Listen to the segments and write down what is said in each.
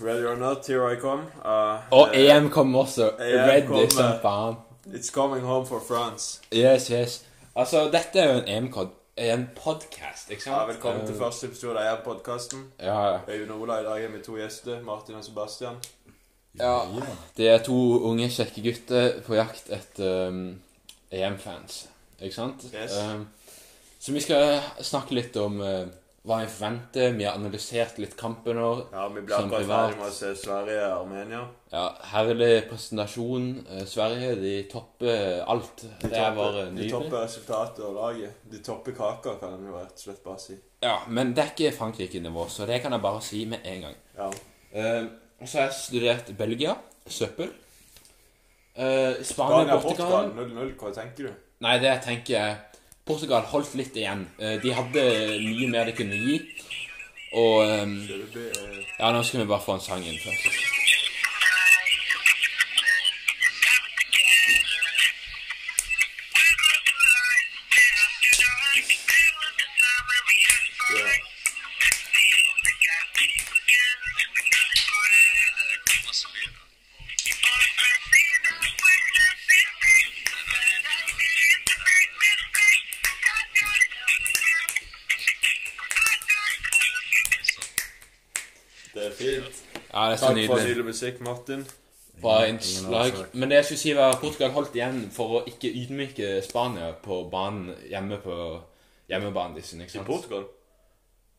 ready or not, here I come. Uh, Og uh, EM kom også. EM Ready kom, som eh. faen. It's coming home for France. Yes, yes. Altså, dette er jo en EM-kod. En podcast, ikke sant? Ja, velkommen til Eh, første episode av EM-podkasten. Ja, ja. Øyvind og Ola i dag er med to gjester, Martin og Sebastian. ja. Det er to unge, kjekke gutter på jakt etter um, EM-fans, ikke sant? Yes. Um, så vi skal snakke litt om eh, hva vi forventer. Vi har analysert litt kampen vår. Ja, vi ble Som akkurat privat. ferdig med å se Sverige og Armenia. Ja, herlig presentasjon. Eh, Sverige, de topper alt. De det er bare topper, de nydelig. topper resultatet og laget. De topper kaka, kan en jo rett og slett bare si. Ja, men det er ikke Frankrike-nivå, så det kan jeg bare si med en gang. Ja. Eh, og så har jeg studert Belgia. Søppel. Eh, Spania, Portugal Spania-Portugal 0-0, hva tenker du? Nei, det tenker jeg Portugal holdt litt igjen. Eh, de hadde mye mer de kunne gi. Og eh, Det blir, eh, Ja, nå skal vi bare få en sang inn først. ja. Det er fint. Ja, det er så Takk for nydelig. nydelig musikk, Martin. Bra innslag. Men det jeg skulle si, var at Portugal holdt igjen for å ikke ydmyke Spania på banen hjemme på hjemmebanen deres. ikke sant? Portugal?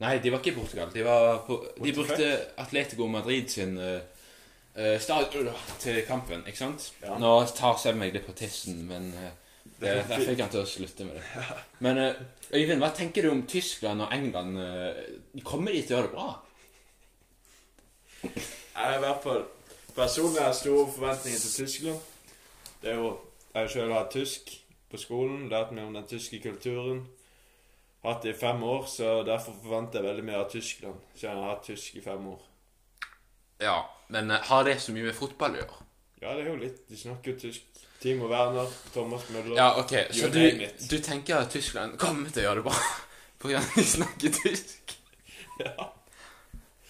Nei, de var ikke i Portugal. De, var på, de What the brukte Atletico Madrid sin eh, eh, stadion til kampen, ikke sant? Ja. Nå tar Seb meg litt på tissen, men eh, det, jeg fikk han til å slutte med det. Men eh, Øyvind, hva tenker du om Tyskland og England? eh, kommer de til å gjøre det bra? Jeg har i hvert fall personlig har jeg store forventninger til Tyskland. Det er jo Jeg har selv hatt tysk på skolen, lært meg om den tyske kulturen. Hatt det i fem år, så derfor forventer jeg veldig mye av Tyskland. Siden jeg har hatt tysk i fem år. Ja, men eh, har det så mye med fotball å gjøre? Ja, det er jo litt De snakker jo tysk. Timo Werner, Thomas Møller Ja, ok, så You du, name it. du tenker at Tyskland kommer til å gjøre det bra på grunn av at de snakker tysk? Ja.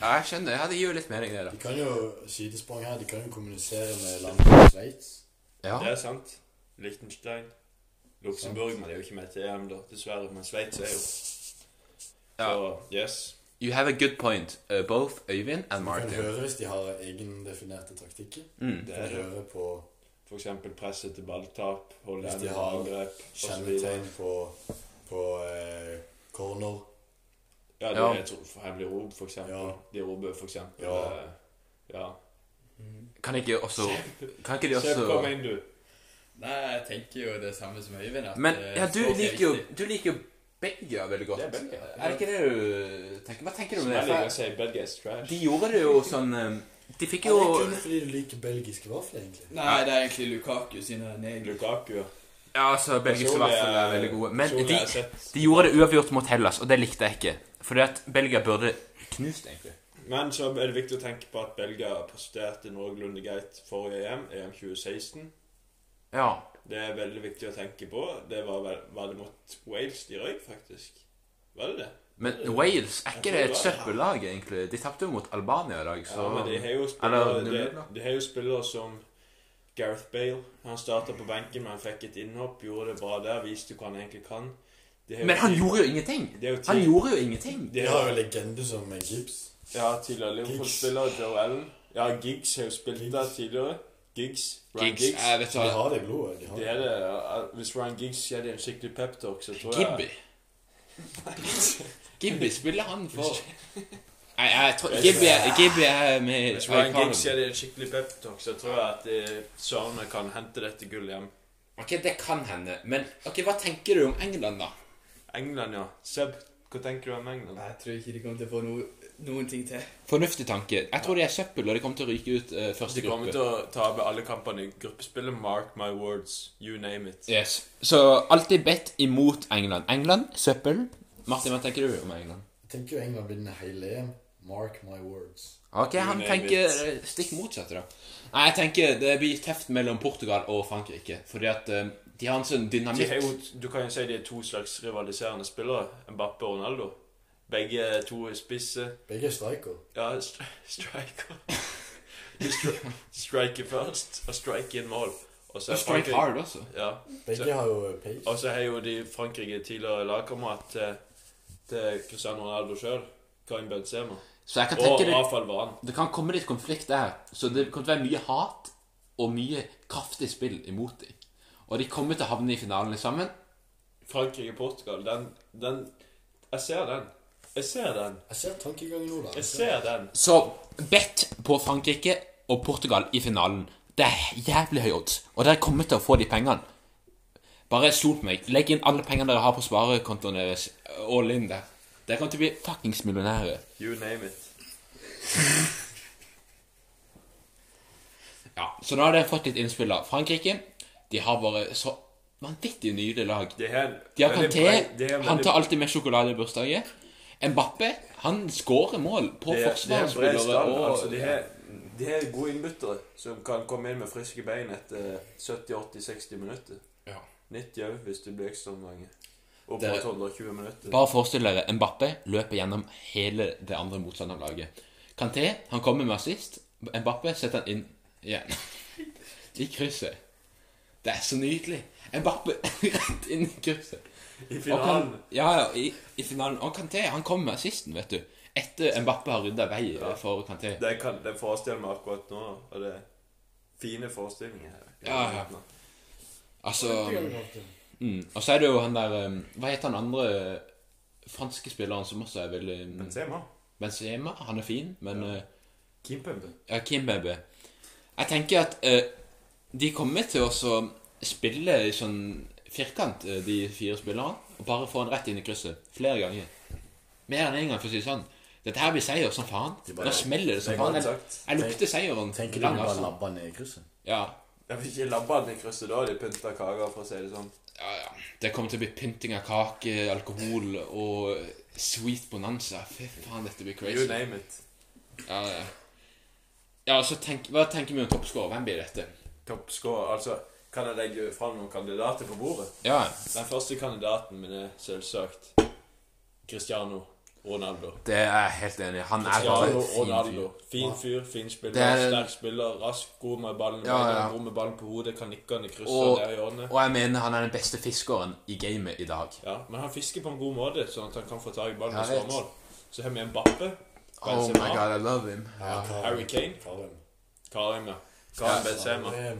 Ja, jeg skjønner. Ja, det gir jo litt mening, det, De kan jo sidesprang her, de kan jo kommunisere med landet som Sveits. da. Ja. Det er sant. Liechtenstein. Luxembourg, men de er jo ikke med til EM, da, dessverre. Men Sveits er jo Ja. Så yes. You have a good point, uh, both Øyvind and Du kan Martin. høre hvis de har egendefinerte taktikker. Mm. Du Det kan er det. høre på For eksempel presset til balltap, holde Hvis de igjen har angrep osv. kjennetegn på, på eh, corner. Ja, det Ja. er et ro- hemmelig rop, for eksempel. Ja. De roper for eksempel Ja. eh, ja. Kan ikke også Kan ikke de Se, kom også inn, du. Nei, jeg tenker jo det samme som Øyvind. At Men eh, ja, du språk er liker jo viktig. Du liker jo Belgia veldig godt. Det er Belgia. Er det ikke det du tenker? Hva tenker du om det? Jeg liker å si Belgia is For trash. De gjorde det jo sånn um, De fikk Er jo det kun fordi du liker belgiske vafler, egentlig? Nei, det er egentlig Lukaku sine negler. Lukaku. Ja, altså, belgiske Personlig vafler er er- veldig gode. Men personlig de, er sett. de gjorde det uavgjort mot Hellas, og det likte jeg ikke. Fordi at Belgia burde knust, egentlig. Men så er det viktig å tenke på at Belgia presterte noenlunde greit forrige EM, EM 2016. Ja. Det er veldig viktig å tenke på. Det var, vel, var det mot Wales de røyk, faktisk? Var det det? Men Wales, er ikke tror det det et var- søppellag, egentlig? De tapte jo mot Albania i dag, så Ja, men de har jo Eller spillere, null, de, da. de har jo spillere som Gareth Bale. Han starta på benken, men han fikk et innhopp. Gjorde det bra der, viste hva han egentlig kan. De har jo Men han tid- gjorde jo ingenting! Det er jo Han ti- gjorde jo ingenting! de De har, har jo legende som eh, Gibbs. ja, tidligere Liverpool-spiller Joe Allen. Ja, Giggs har jo spilt der Giggs. tidligere. Giggs. Ryan Giggs, Giggs. jeg vet De hva har det i blodet. De har Det er det. ja. Hvis Ryan Giggs gir dem en skikkelig peptalk, så tror jeg Gibby. Gibby spiller han for Nei, jeg tror Hvis- Gibby er, Gibby er med Hvis i Ryan Economy. Giggs gir dem en skikkelig peptalk, så tror jeg at eh, Sørene kan hente dette gullet hjem. Ok, det kan hende. Men ok, hva tenker du om England, da? England, ja. Seb, hva tenker du om England? Jeg tror ikke de kommer til å få noe, noen ting til. Fornuftig tanke. Jeg tror de er søppel, og de kommer til å ryke ut eh, De første kommer gruppe. til å tape alle kampene i gruppespillet. Mark my words. You name it. Yes. Så alltid bedt imot England. England, søppel. Martin, hva tenker du om England? Jeg tenker jo England vinner hele EM. Mark my words. Ok, You han name tenker eh, stikk motsatt, da. Nei, jeg tenker det blir tøft mellom Portugal og Frankrike. Fordi at eh, de har en sånn De er dynamikk jo, du kan jo si de er to slags rivaliserende spillere. Mbappe og Ronaldo. Begge to er spisse. Begge er striker. Ja, st striker. De stri striker først, og striker inn mål. Og så er Og strike Frankrike- hard også. Ja. Begge Så- har jo eh, pace. Og så har jo de Frankrike tidligere lagkamerat til, til Cristiano Ronaldo sjøl. Karim Benzema. Så jeg kan Og tenke det, Rafael Varane. det kan komme litt konflikt der. Så det kommer til å være mye hat og mye kraftig spill imot dem. Og de kommer til å havne i finalen sammen. Frankrike-Portugal, den, den Jeg ser den. Jeg ser den. Jeg ser tankegangen nå, da. Jeg ser den. Så bet på Frankrike og Portugal i finalen. Det er jævlig høy odds, og dere kommer til å få de pengene. Bare stol på meg. Legg inn alle pengene dere har på sparekontoen deres. All in der. Dere kommer til å bli fuckings millionærer. You name it. Ja, så nå har dere fått litt innspill av Frankrike. De har bare så vanvittig nydelig lag. Det er en De har veldig brei- det Kanté, er en han veldig- tar alltid med sjokolade i bursdagen. Mbappe, han skårer mål på det er- det er en bred forsvarsspillere. stall. og- Altså, de har- de har gode innbyttere som kan komme inn med friske bein etter 70-80-60 minutter. Ja. 90 òg, hvis det blir ekstraomganger. Og på 120 minutter. Bare forestill dere, Mbappe løper gjennom hele det andre motstanderlaget. Kanté, han kommer med assist. Mbappe setter han inn igjen. I krysset. Det er så nydelig. Mbappe rett inn i krysset. I Og kan, finalen. ja, ja, i, i finalen. Og Kanté, han kommer med assisten, vet du. Etter Mbappe har rydda vei eh, for Kanté. Det kan det forestiller meg akkurat nå, og det er fine forestillinger. Ja, ja. Altså Um, Tankegangen, Martin. mm. Og så er det jo han der um, Hva heter han andre eh, franske spilleren som også er veldig mm, Men se meg. Benzema, han er fin, men eh, Kimpembe. Ja, Kimbebe. Jeg tenker at eh, de kommer til å så spille i sånn firkant, eh, de fire spillerne, og bare få han rett inn i krysset. Flere ganger. Mer enn én en gang, for å si det sånn. Dette her blir seier som faen. bare- Nå smeller det som det er faen. godt Jeg, sagt. jeg lukter seieren. Tenker du lang bare avstand. labba ned i krysset? Ja. Jeg vil ikke labbe den i krysset, da har de pynta kaka, for å si det sånn. ja, ja. Det kommer til å bli pynting av kake, alkohol og sweet bonanza. Fy faen, dette blir You crazy. name it. Ja, ja. ja og så tenk, Hva tenker vi om toppscorer? Hvem blir dette? Toppscore. Altså, kan jeg legge fram noen kandidater på bordet? Ja, Den første kandidaten min er selvsagt Cristiano Ronaldo. Det er jeg helt enig i. Han er bare Cristiano en fin fyr. Ronaldo. Fin fyr, fin spiller, Det er- sterk spiller, rask, god med ballen, i Ja, ja. beina, god med ballen på hodet, kan nikke han i krysset Og, der i hjørnet. og jeg mener han er den beste fiskeren i gamet i dag. Ja, men han fisker på en god måte, sånn at han kan få tak i ballen og Jeg skåre vet. mål. Så har vi en Bappe, Oh Benzema, I love him. Harry Kane, Karim. Karim, ja. Karim Benzema. Karim.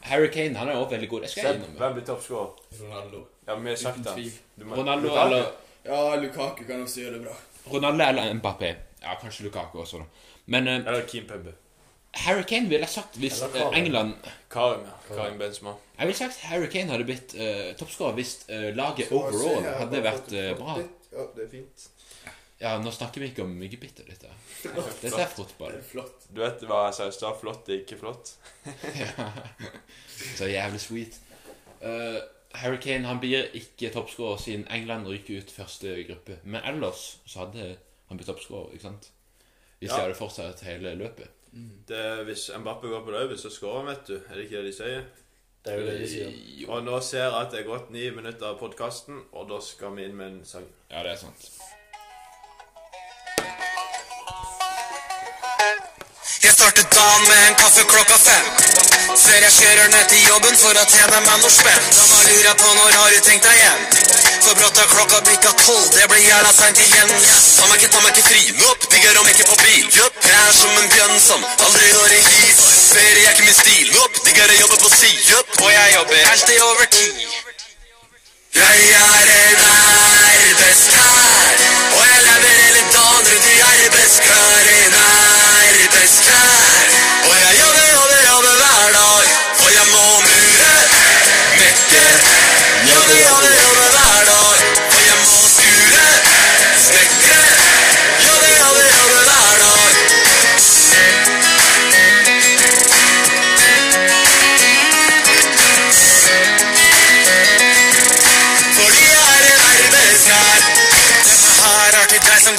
Harry Kane han er også veldig god. Det skal jeg Hvem innrømme. hvem blir toppscorer? Ronaldo. Ja, vi har sagt Uten det. tvil. Du må- Ronaldo Lukaku. eller, Ja, Lukaku kan også gjøre det bra. Ronaldo eller Mbappé. Ja, kanskje Lukaku også, da. Men eh, Eller Kim Pebbe. Harry Kane ville jeg sagt hvis Eller eh, Karim. England Karim, ja. Karim Benzema. Jeg ville sagt Harry Kane hadde blitt uh, toppskårer hvis eh, laget overall hadde vært eh, bra. Ja, det er fint. Ja, nå snakker vi ikke om myggebitter, dette. Dette er fotball. Det er flott. Du vet hva jeg sa i stad? Flott er ikke flott. Så jævlig sweet. Eh, Harry Kane han blir ikke toppskårer siden England ryker ut første gruppe. Men ellers så hadde han blitt toppskårer, ikke sant? Hvis Ja. de hadde fortsatt hele løpet. Det, er- hvis Mbappe går på det over, så skårer han, vet du. Er det ikke det de sier? Det er jo det de sier. Jo. Og nå ser jeg at det er gått ni minutter av podkasten, og da skal vi inn med en sang. Ja, det er sant. Jeg starter dagen med en kaffe klokka fem Før jeg kjører ned til jobben for å tjene meg noe spenn Da bare lurer jeg på når har du tenkt deg hjem For brått er klokka blikka tolv, det blir jævla sent igjen Ta meg ikke, ta meg ikke fri, nopp, bygger om ikke på bil Jøpp, jeg er som en bjønn som aldri når i hi Ferie er ikke min stil, nopp, digger å jobbe på si Jøpp, og jeg jobber alltid over tid jeg er en arbeidskar, og jeg lever hele dagen rundt i arbeidskar. En arbeidskar, og jeg jobber, jobber, jobber hver dag, for jeg må mure, mekke. Jobber, jobber, jobber hver dag, for jeg må skure, snekre. Jobber, jobber, jobber hver dag. Fordi jeg er en arbeidskar Dette her er til deg som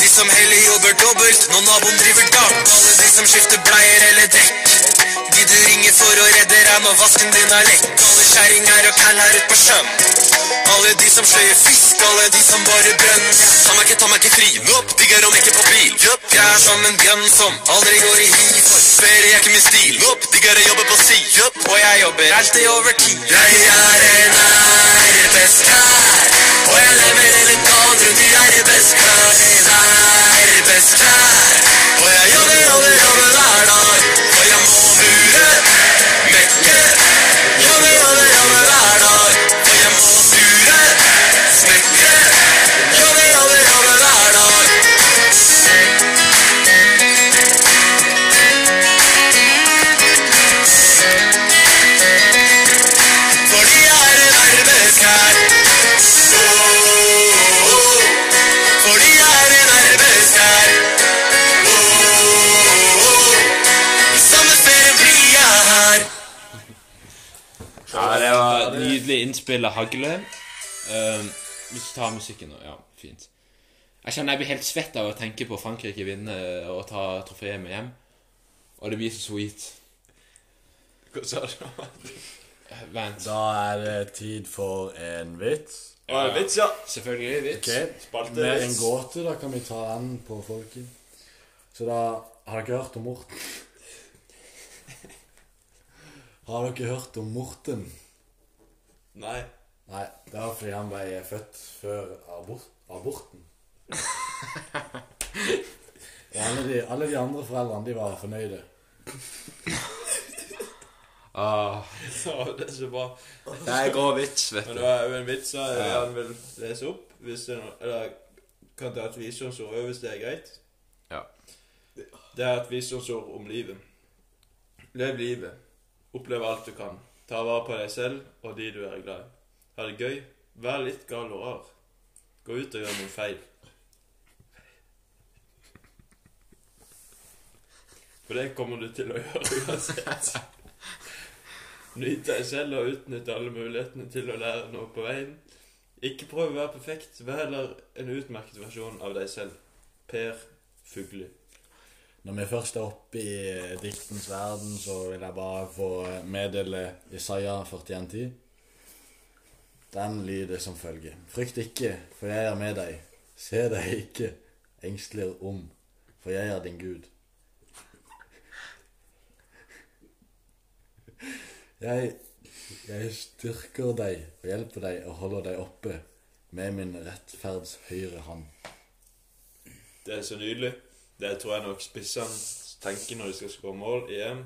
De som heller jobber dobbelt når naboen driver damp Alle de som skifter bleier eller dekk De du ringer for å redde deg når vasken din er lekk Alle kjerringer og kærner ut på sjøen. Alle de som sløyer fisk, alle de som bare brenn. Ta meg ikke, ta meg ikke fri, nopp, digger om ikke på bil. Jøp, jeg er som en bjønn som aldri går i hi. For ferie er ikke min stil, nopp, digger å jobbe på si. Jøp, og jeg jobber alltid over tid. Jeg er en arbeidskar, og jeg lever elegant rundt i arbeidskar. En arbeidskar, og jeg jobber, jobber, jobber hver dag. For jeg må mure, mekke, jobbe, jobbe, jobbe hver dag. For jeg må mure, smekke, jobbe, jobbe, jobbe hver dag. Fordi jeg er en arbeidskar. Oh, oh, oh. Fordi jeg er en arbeidskar. Oh, oh, oh. I sommerferien blir jeg her. Ja, det var nydelig innspill av Hagle. Um, hvis du tar musikken nå, ja, fint. Jeg kjenner jeg blir helt svett av å tenke på Frankrike vinne og ta trofeet med hjem. Og det blir så sweet. Hva sa du? Vent. Da er det tid for en vits. Var det vits, ja? Selvfølgelig vits. Ok, Spalte Med en vits. gåte, da kan vi ta den på folket. Så da Har dere hørt om Morten? Har dere hørt om Morten? Nei. Nei, det var fordi han ble født før abort, aborten. Og alle de, alle de andre foreldrene, de var fornøyde. Ah, Ja, det er så bra. det er grå vits, vet Men du. det var jo en vits da, jeg han vil lese opp. Hvis det er noe Eller kan ta et visdomsord òg, hvis det er greit. Ja. Det er et visdomsord om livet. Lev livet. Opplev alt du kan. Ta vare på deg selv og de du er glad i. Ha det gøy. Vær litt gal og rar. Gå ut og gjør noe feil. For det kommer du til å gjøre uansett. Nyt deg selv og utnytt alle mulighetene til å lære noe på veien. Ikke prøv å være perfekt, vær heller en utmerket versjon av deg selv. Per Fugli. Når vi først er oppe i diktens verden, så vil jeg bare få meddele Isaiah 4110. Den lyder som følger. Frykt ikke, for jeg er med deg. Se deg ikke engstelig om, for jeg er din Gud. Jeg, jeg styrker deg og hjelper deg og holder deg oppe med min rettferds høyre hånd. Det er så nydelig. Det tror jeg nok spissene tenker når de skal skåre mål i EM,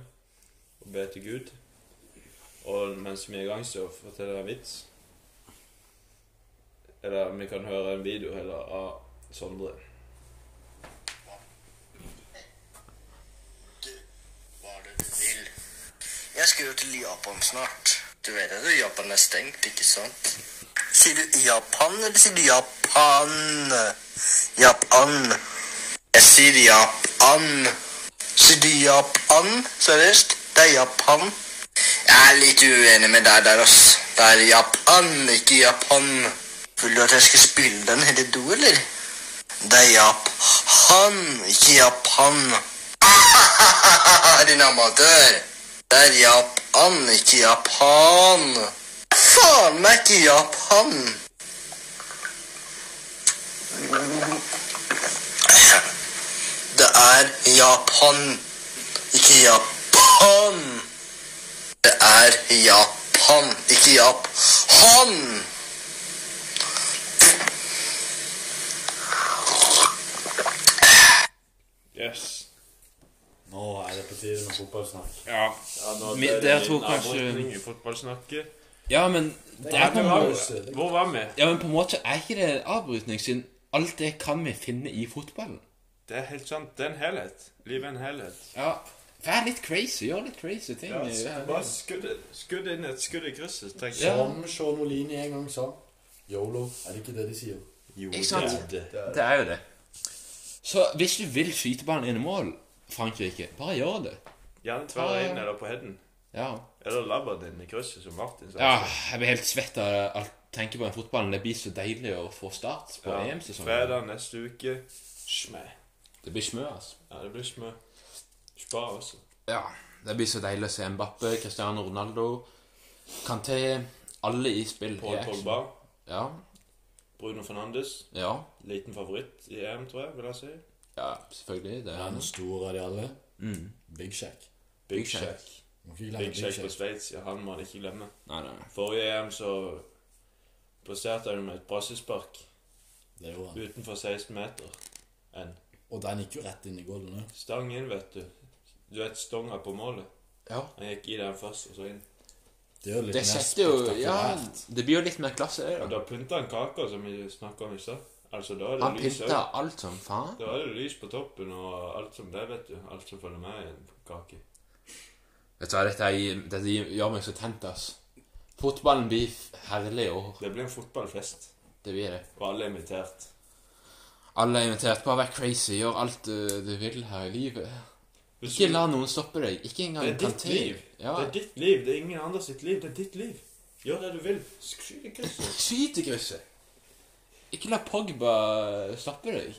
og be til Gud. Og mens vi er i gang, så forteller jeg en vits. Eller vi kan høre en video heller av Sondre. Hva er det du vil? Jeg skal jo til Japan snart. Du vet at Japan er stengt, ikke sant? Sier du Japan, eller sier du Japan? Japan. Jeg sier Japan. Sier du Japan? Seriøst? Det er Japan. Jeg er litt uenig med deg der, ass. Det er Japan, ikke Japan. Vil du at jeg skal spille den hele do, eller? Det er Japan, ikke Japan. Din amatør. Det er Japan, ikke Japan. Faen meg ikke Japan. Det er Japan, ikke Japan. Det er Japan, ikke Japan. Yes. Nå er det på tide med fotballsnakk. Ja. nå Vi- ble det dere en tror liten kanskje- avbrytning i fotballsnakket. ja, men der Hvor kan var man vi? Hvor var vi? Ja, men på en måte er ikke det en avbrytning, siden alt det kan vi finne i fotballen. Det er helt sant. Det er en helhet. Livet er en helhet. Ja, Vær litt crazy. Gjør litt crazy ting. Ja, Ja, sk- bare skudd, skudd inn et skudd i krysset, sånn. tenker Ja. jeg. Som Sean Olini en gang sa Yolo, er det ikke det de sier? Jo, Ikke sant? det er det. Det er jo det. Så hvis du vil skyte ballen inn i mål, Frankrike, bare gjør det. Gjerne tverre inn eller på headen. Ja. Eller labber din i krysset, som Martin sa. ja jeg blir helt svett av å tenke på den fotballen. Det blir så deilig å få start på Ja, EM-sesongen. Fredag neste uke. Smæ. Det blir smø, altså. Ja, det blir smø. altså. Spar også. Ja. Det blir så deilig å se Mbappe, Cristiano Ronaldo Kanté Alle i spill. i Paul action. Pogba, Ja. Bruno Fernandes. Ja. Liten favoritt i EM, tror jeg, vil jeg si. ja selvfølgelig. Det er Den han. store av de alle. Mm. Big Shack. Big Big Shack. Shack. Må ikke glemme Big Big Shack på Shack. Sveits, ja, han må han ikke glemme. Nei, nei. nei. Forrige EM så presterte han jo med et brassespark Det gjorde han. utenfor 16 meter. En Og den gikk jo rett inn i golden òg. stang inn, vet du. Du vet stonga på målet. Ja. Han gikk i den først, og så inn. Det er jo litt Det mer setter jo Ja, spektakulært. det blir jo litt mer klasse, det. Og da. da pynta han kaka, som vi snakka om i stad. Altså, da er det Han lys pynta òg. alt som faen. Da er det lys på toppen og alt som det, vet du. Alt som følger med i en kake. Vet du hva, dette, er, dette gjør meg så tent, ass. Fotballen blir f- herlig i år. Det blir en fotballfest, Det blir det. og alle er invitert. Alle er invitert. Bare vær crazy. Gjør alt uh, du vil her i livet. Hvis Ikke du- la noen stoppe deg. Ikke engang Det er ditt Kanté. liv. Ja. Det er ditt liv. Det er ingen andre sitt liv. Det er ditt liv. Gjør det du vil. Skyt i krysset. Skyt i krysset. Ikke la Pogba stoppe deg.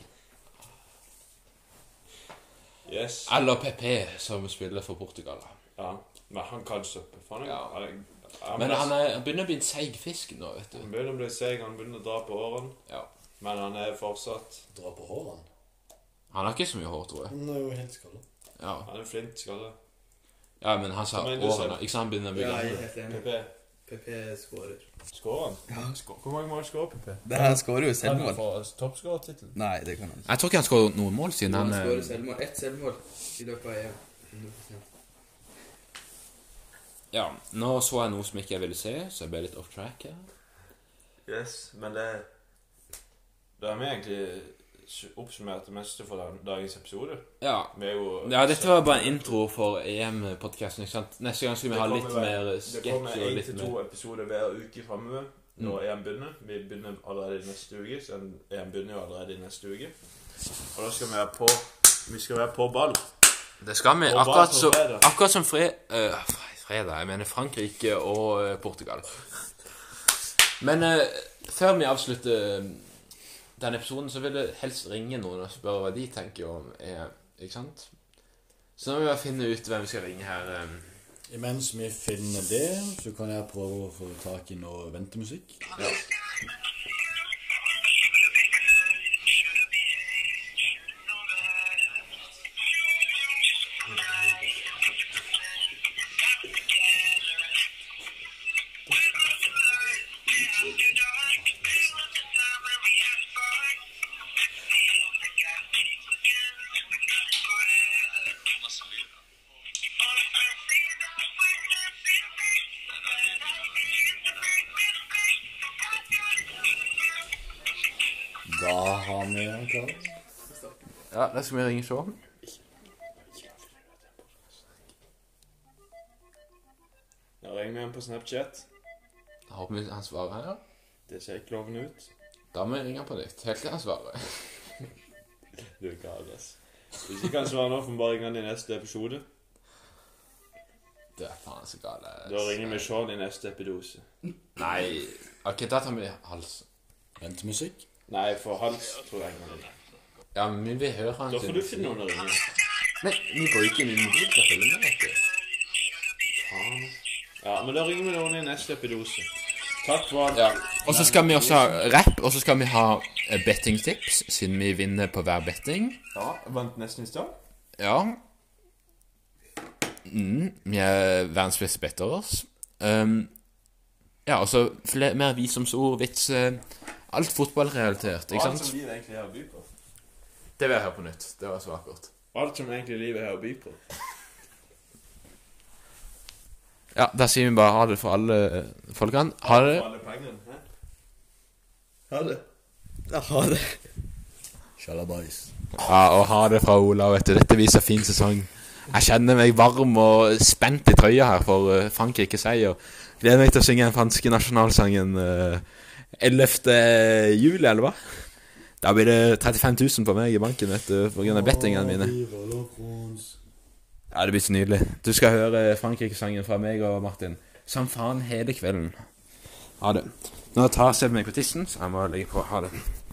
Yes. Eller PP, som spiller for Portugal. Ja. Men han kan søppe. For han, Ja. er- han, Men ble- han, er, han begynner å bli en seig fisk nå, vet du. han begynner å bli seig. Han begynner å dra på årene. Ja. Men han er fortsatt Dra på hårene. Han har ikke så mye hår, tror jeg. Han er jo helt skalla. Ja, Han er en flint skalle. ja men han sa Men du sa- årene. Ikke sant, han begynner å bli Ja, jeg er gammel. helt enig. PP. PP skårer. Skårer han? Ja, Hvor mange mål skårer PP? Nei, han skårer jo selvmål. får toppskårertittelen. Nei, det kan han ikke. Jeg tror ikke han skåret noen mål siden Han han eh, skårer selvmål. Ett selvmål i løpet av EM. Ja, nå så jeg noe som ikke jeg ville se, så jeg ble litt off track her. Yes, men det Da har vi egentlig oppsummert det meste for den- dagens episode. Ja. Vi er jo ja, dette var bare en intro for EM-podkasten, ikke sant. Neste gang skal vi ha litt mer Det kommer sketsj og én litt til mer to episoder hver uke framover når EM begynner. Vi begynner allerede i neste uke, så EM begynner jo allerede i neste uke. Og da skal vi være på Vi skal være på ball. Det skal vi. Og bare Akkurat, på så, fredag. akkurat som fre, eh, fre- fredag Jeg mener Frankrike og eh, Portugal. Men eh, før vi avslutter eh, denne episoden, så vil jeg helst ringe noen og spørre hva de tenker om EM. Ikke sant? Så nå må vi bare finne ut hvem vi skal ringe her. eh. Imens vi finner det, så kan jeg prøve å få tak i noe ventemusikk. Da har vi den klar. Ja, da skal vi ringe Sjå. Da ringer vi en på Snapchat. Da håper vi han svarer her. Det ser ikke lovende ut. Da må vi ringe han på nytt. Helt til han svarer. Du er gal, ass. Hvis ikke han svarer nå, får vi bare ringe han i neste episode. Det er faen så galt. Da ringer vi Sean i neste epidose. Nei. Ok, da tar vi halsen. Ventemusikk. Nei, for hals tror jeg han er. Ja, men vi vil høre han Da sin får du musikk. finne noen å ringe. Nei, vi bruker min mobil til å følge med, vet du. Ja, men da ringer vi noen i neste epidose. Takk for at Ja. Og så skal vi også ha rap, og så skal vi ha eh, bettingtips, siden vi vinner på hver betting. Ja, vant nesten i stad. Ja. Mm, vi er verdens beste bettere. Um, ja, og så fle- mer visdomsord, vits eh, Alt fotballrelatert, ikke Alt sant? som livet egentlig har å by på. Det vil jeg høre på nytt. Det var så akkurat. Alt som egentlig livet har å by på. Ja, da sier vi bare ha det for alle eh, folkene. Ha det. For alle pengene. hæ? Ha det. Ja, ha det. Sjalabais. Ja, og ha det fra Ola, vet du. Dette viser fin sesong. Jeg kjenner meg varm og spent i trøya her for eh, Frankrike seier. Gleder meg til å synge den franske nasjonalsangen eh, 11. juli, eller hva? Da blir det 35 000 for meg i banken, vet du, pga. bettingene mine. Ja, det blir så nydelig. Du skal høre Frankrike-sangen fra meg og Martin. Som faen hele kvelden. Ha det. Nå tar Seb meg på tissen, så jeg må legge på. Ha det.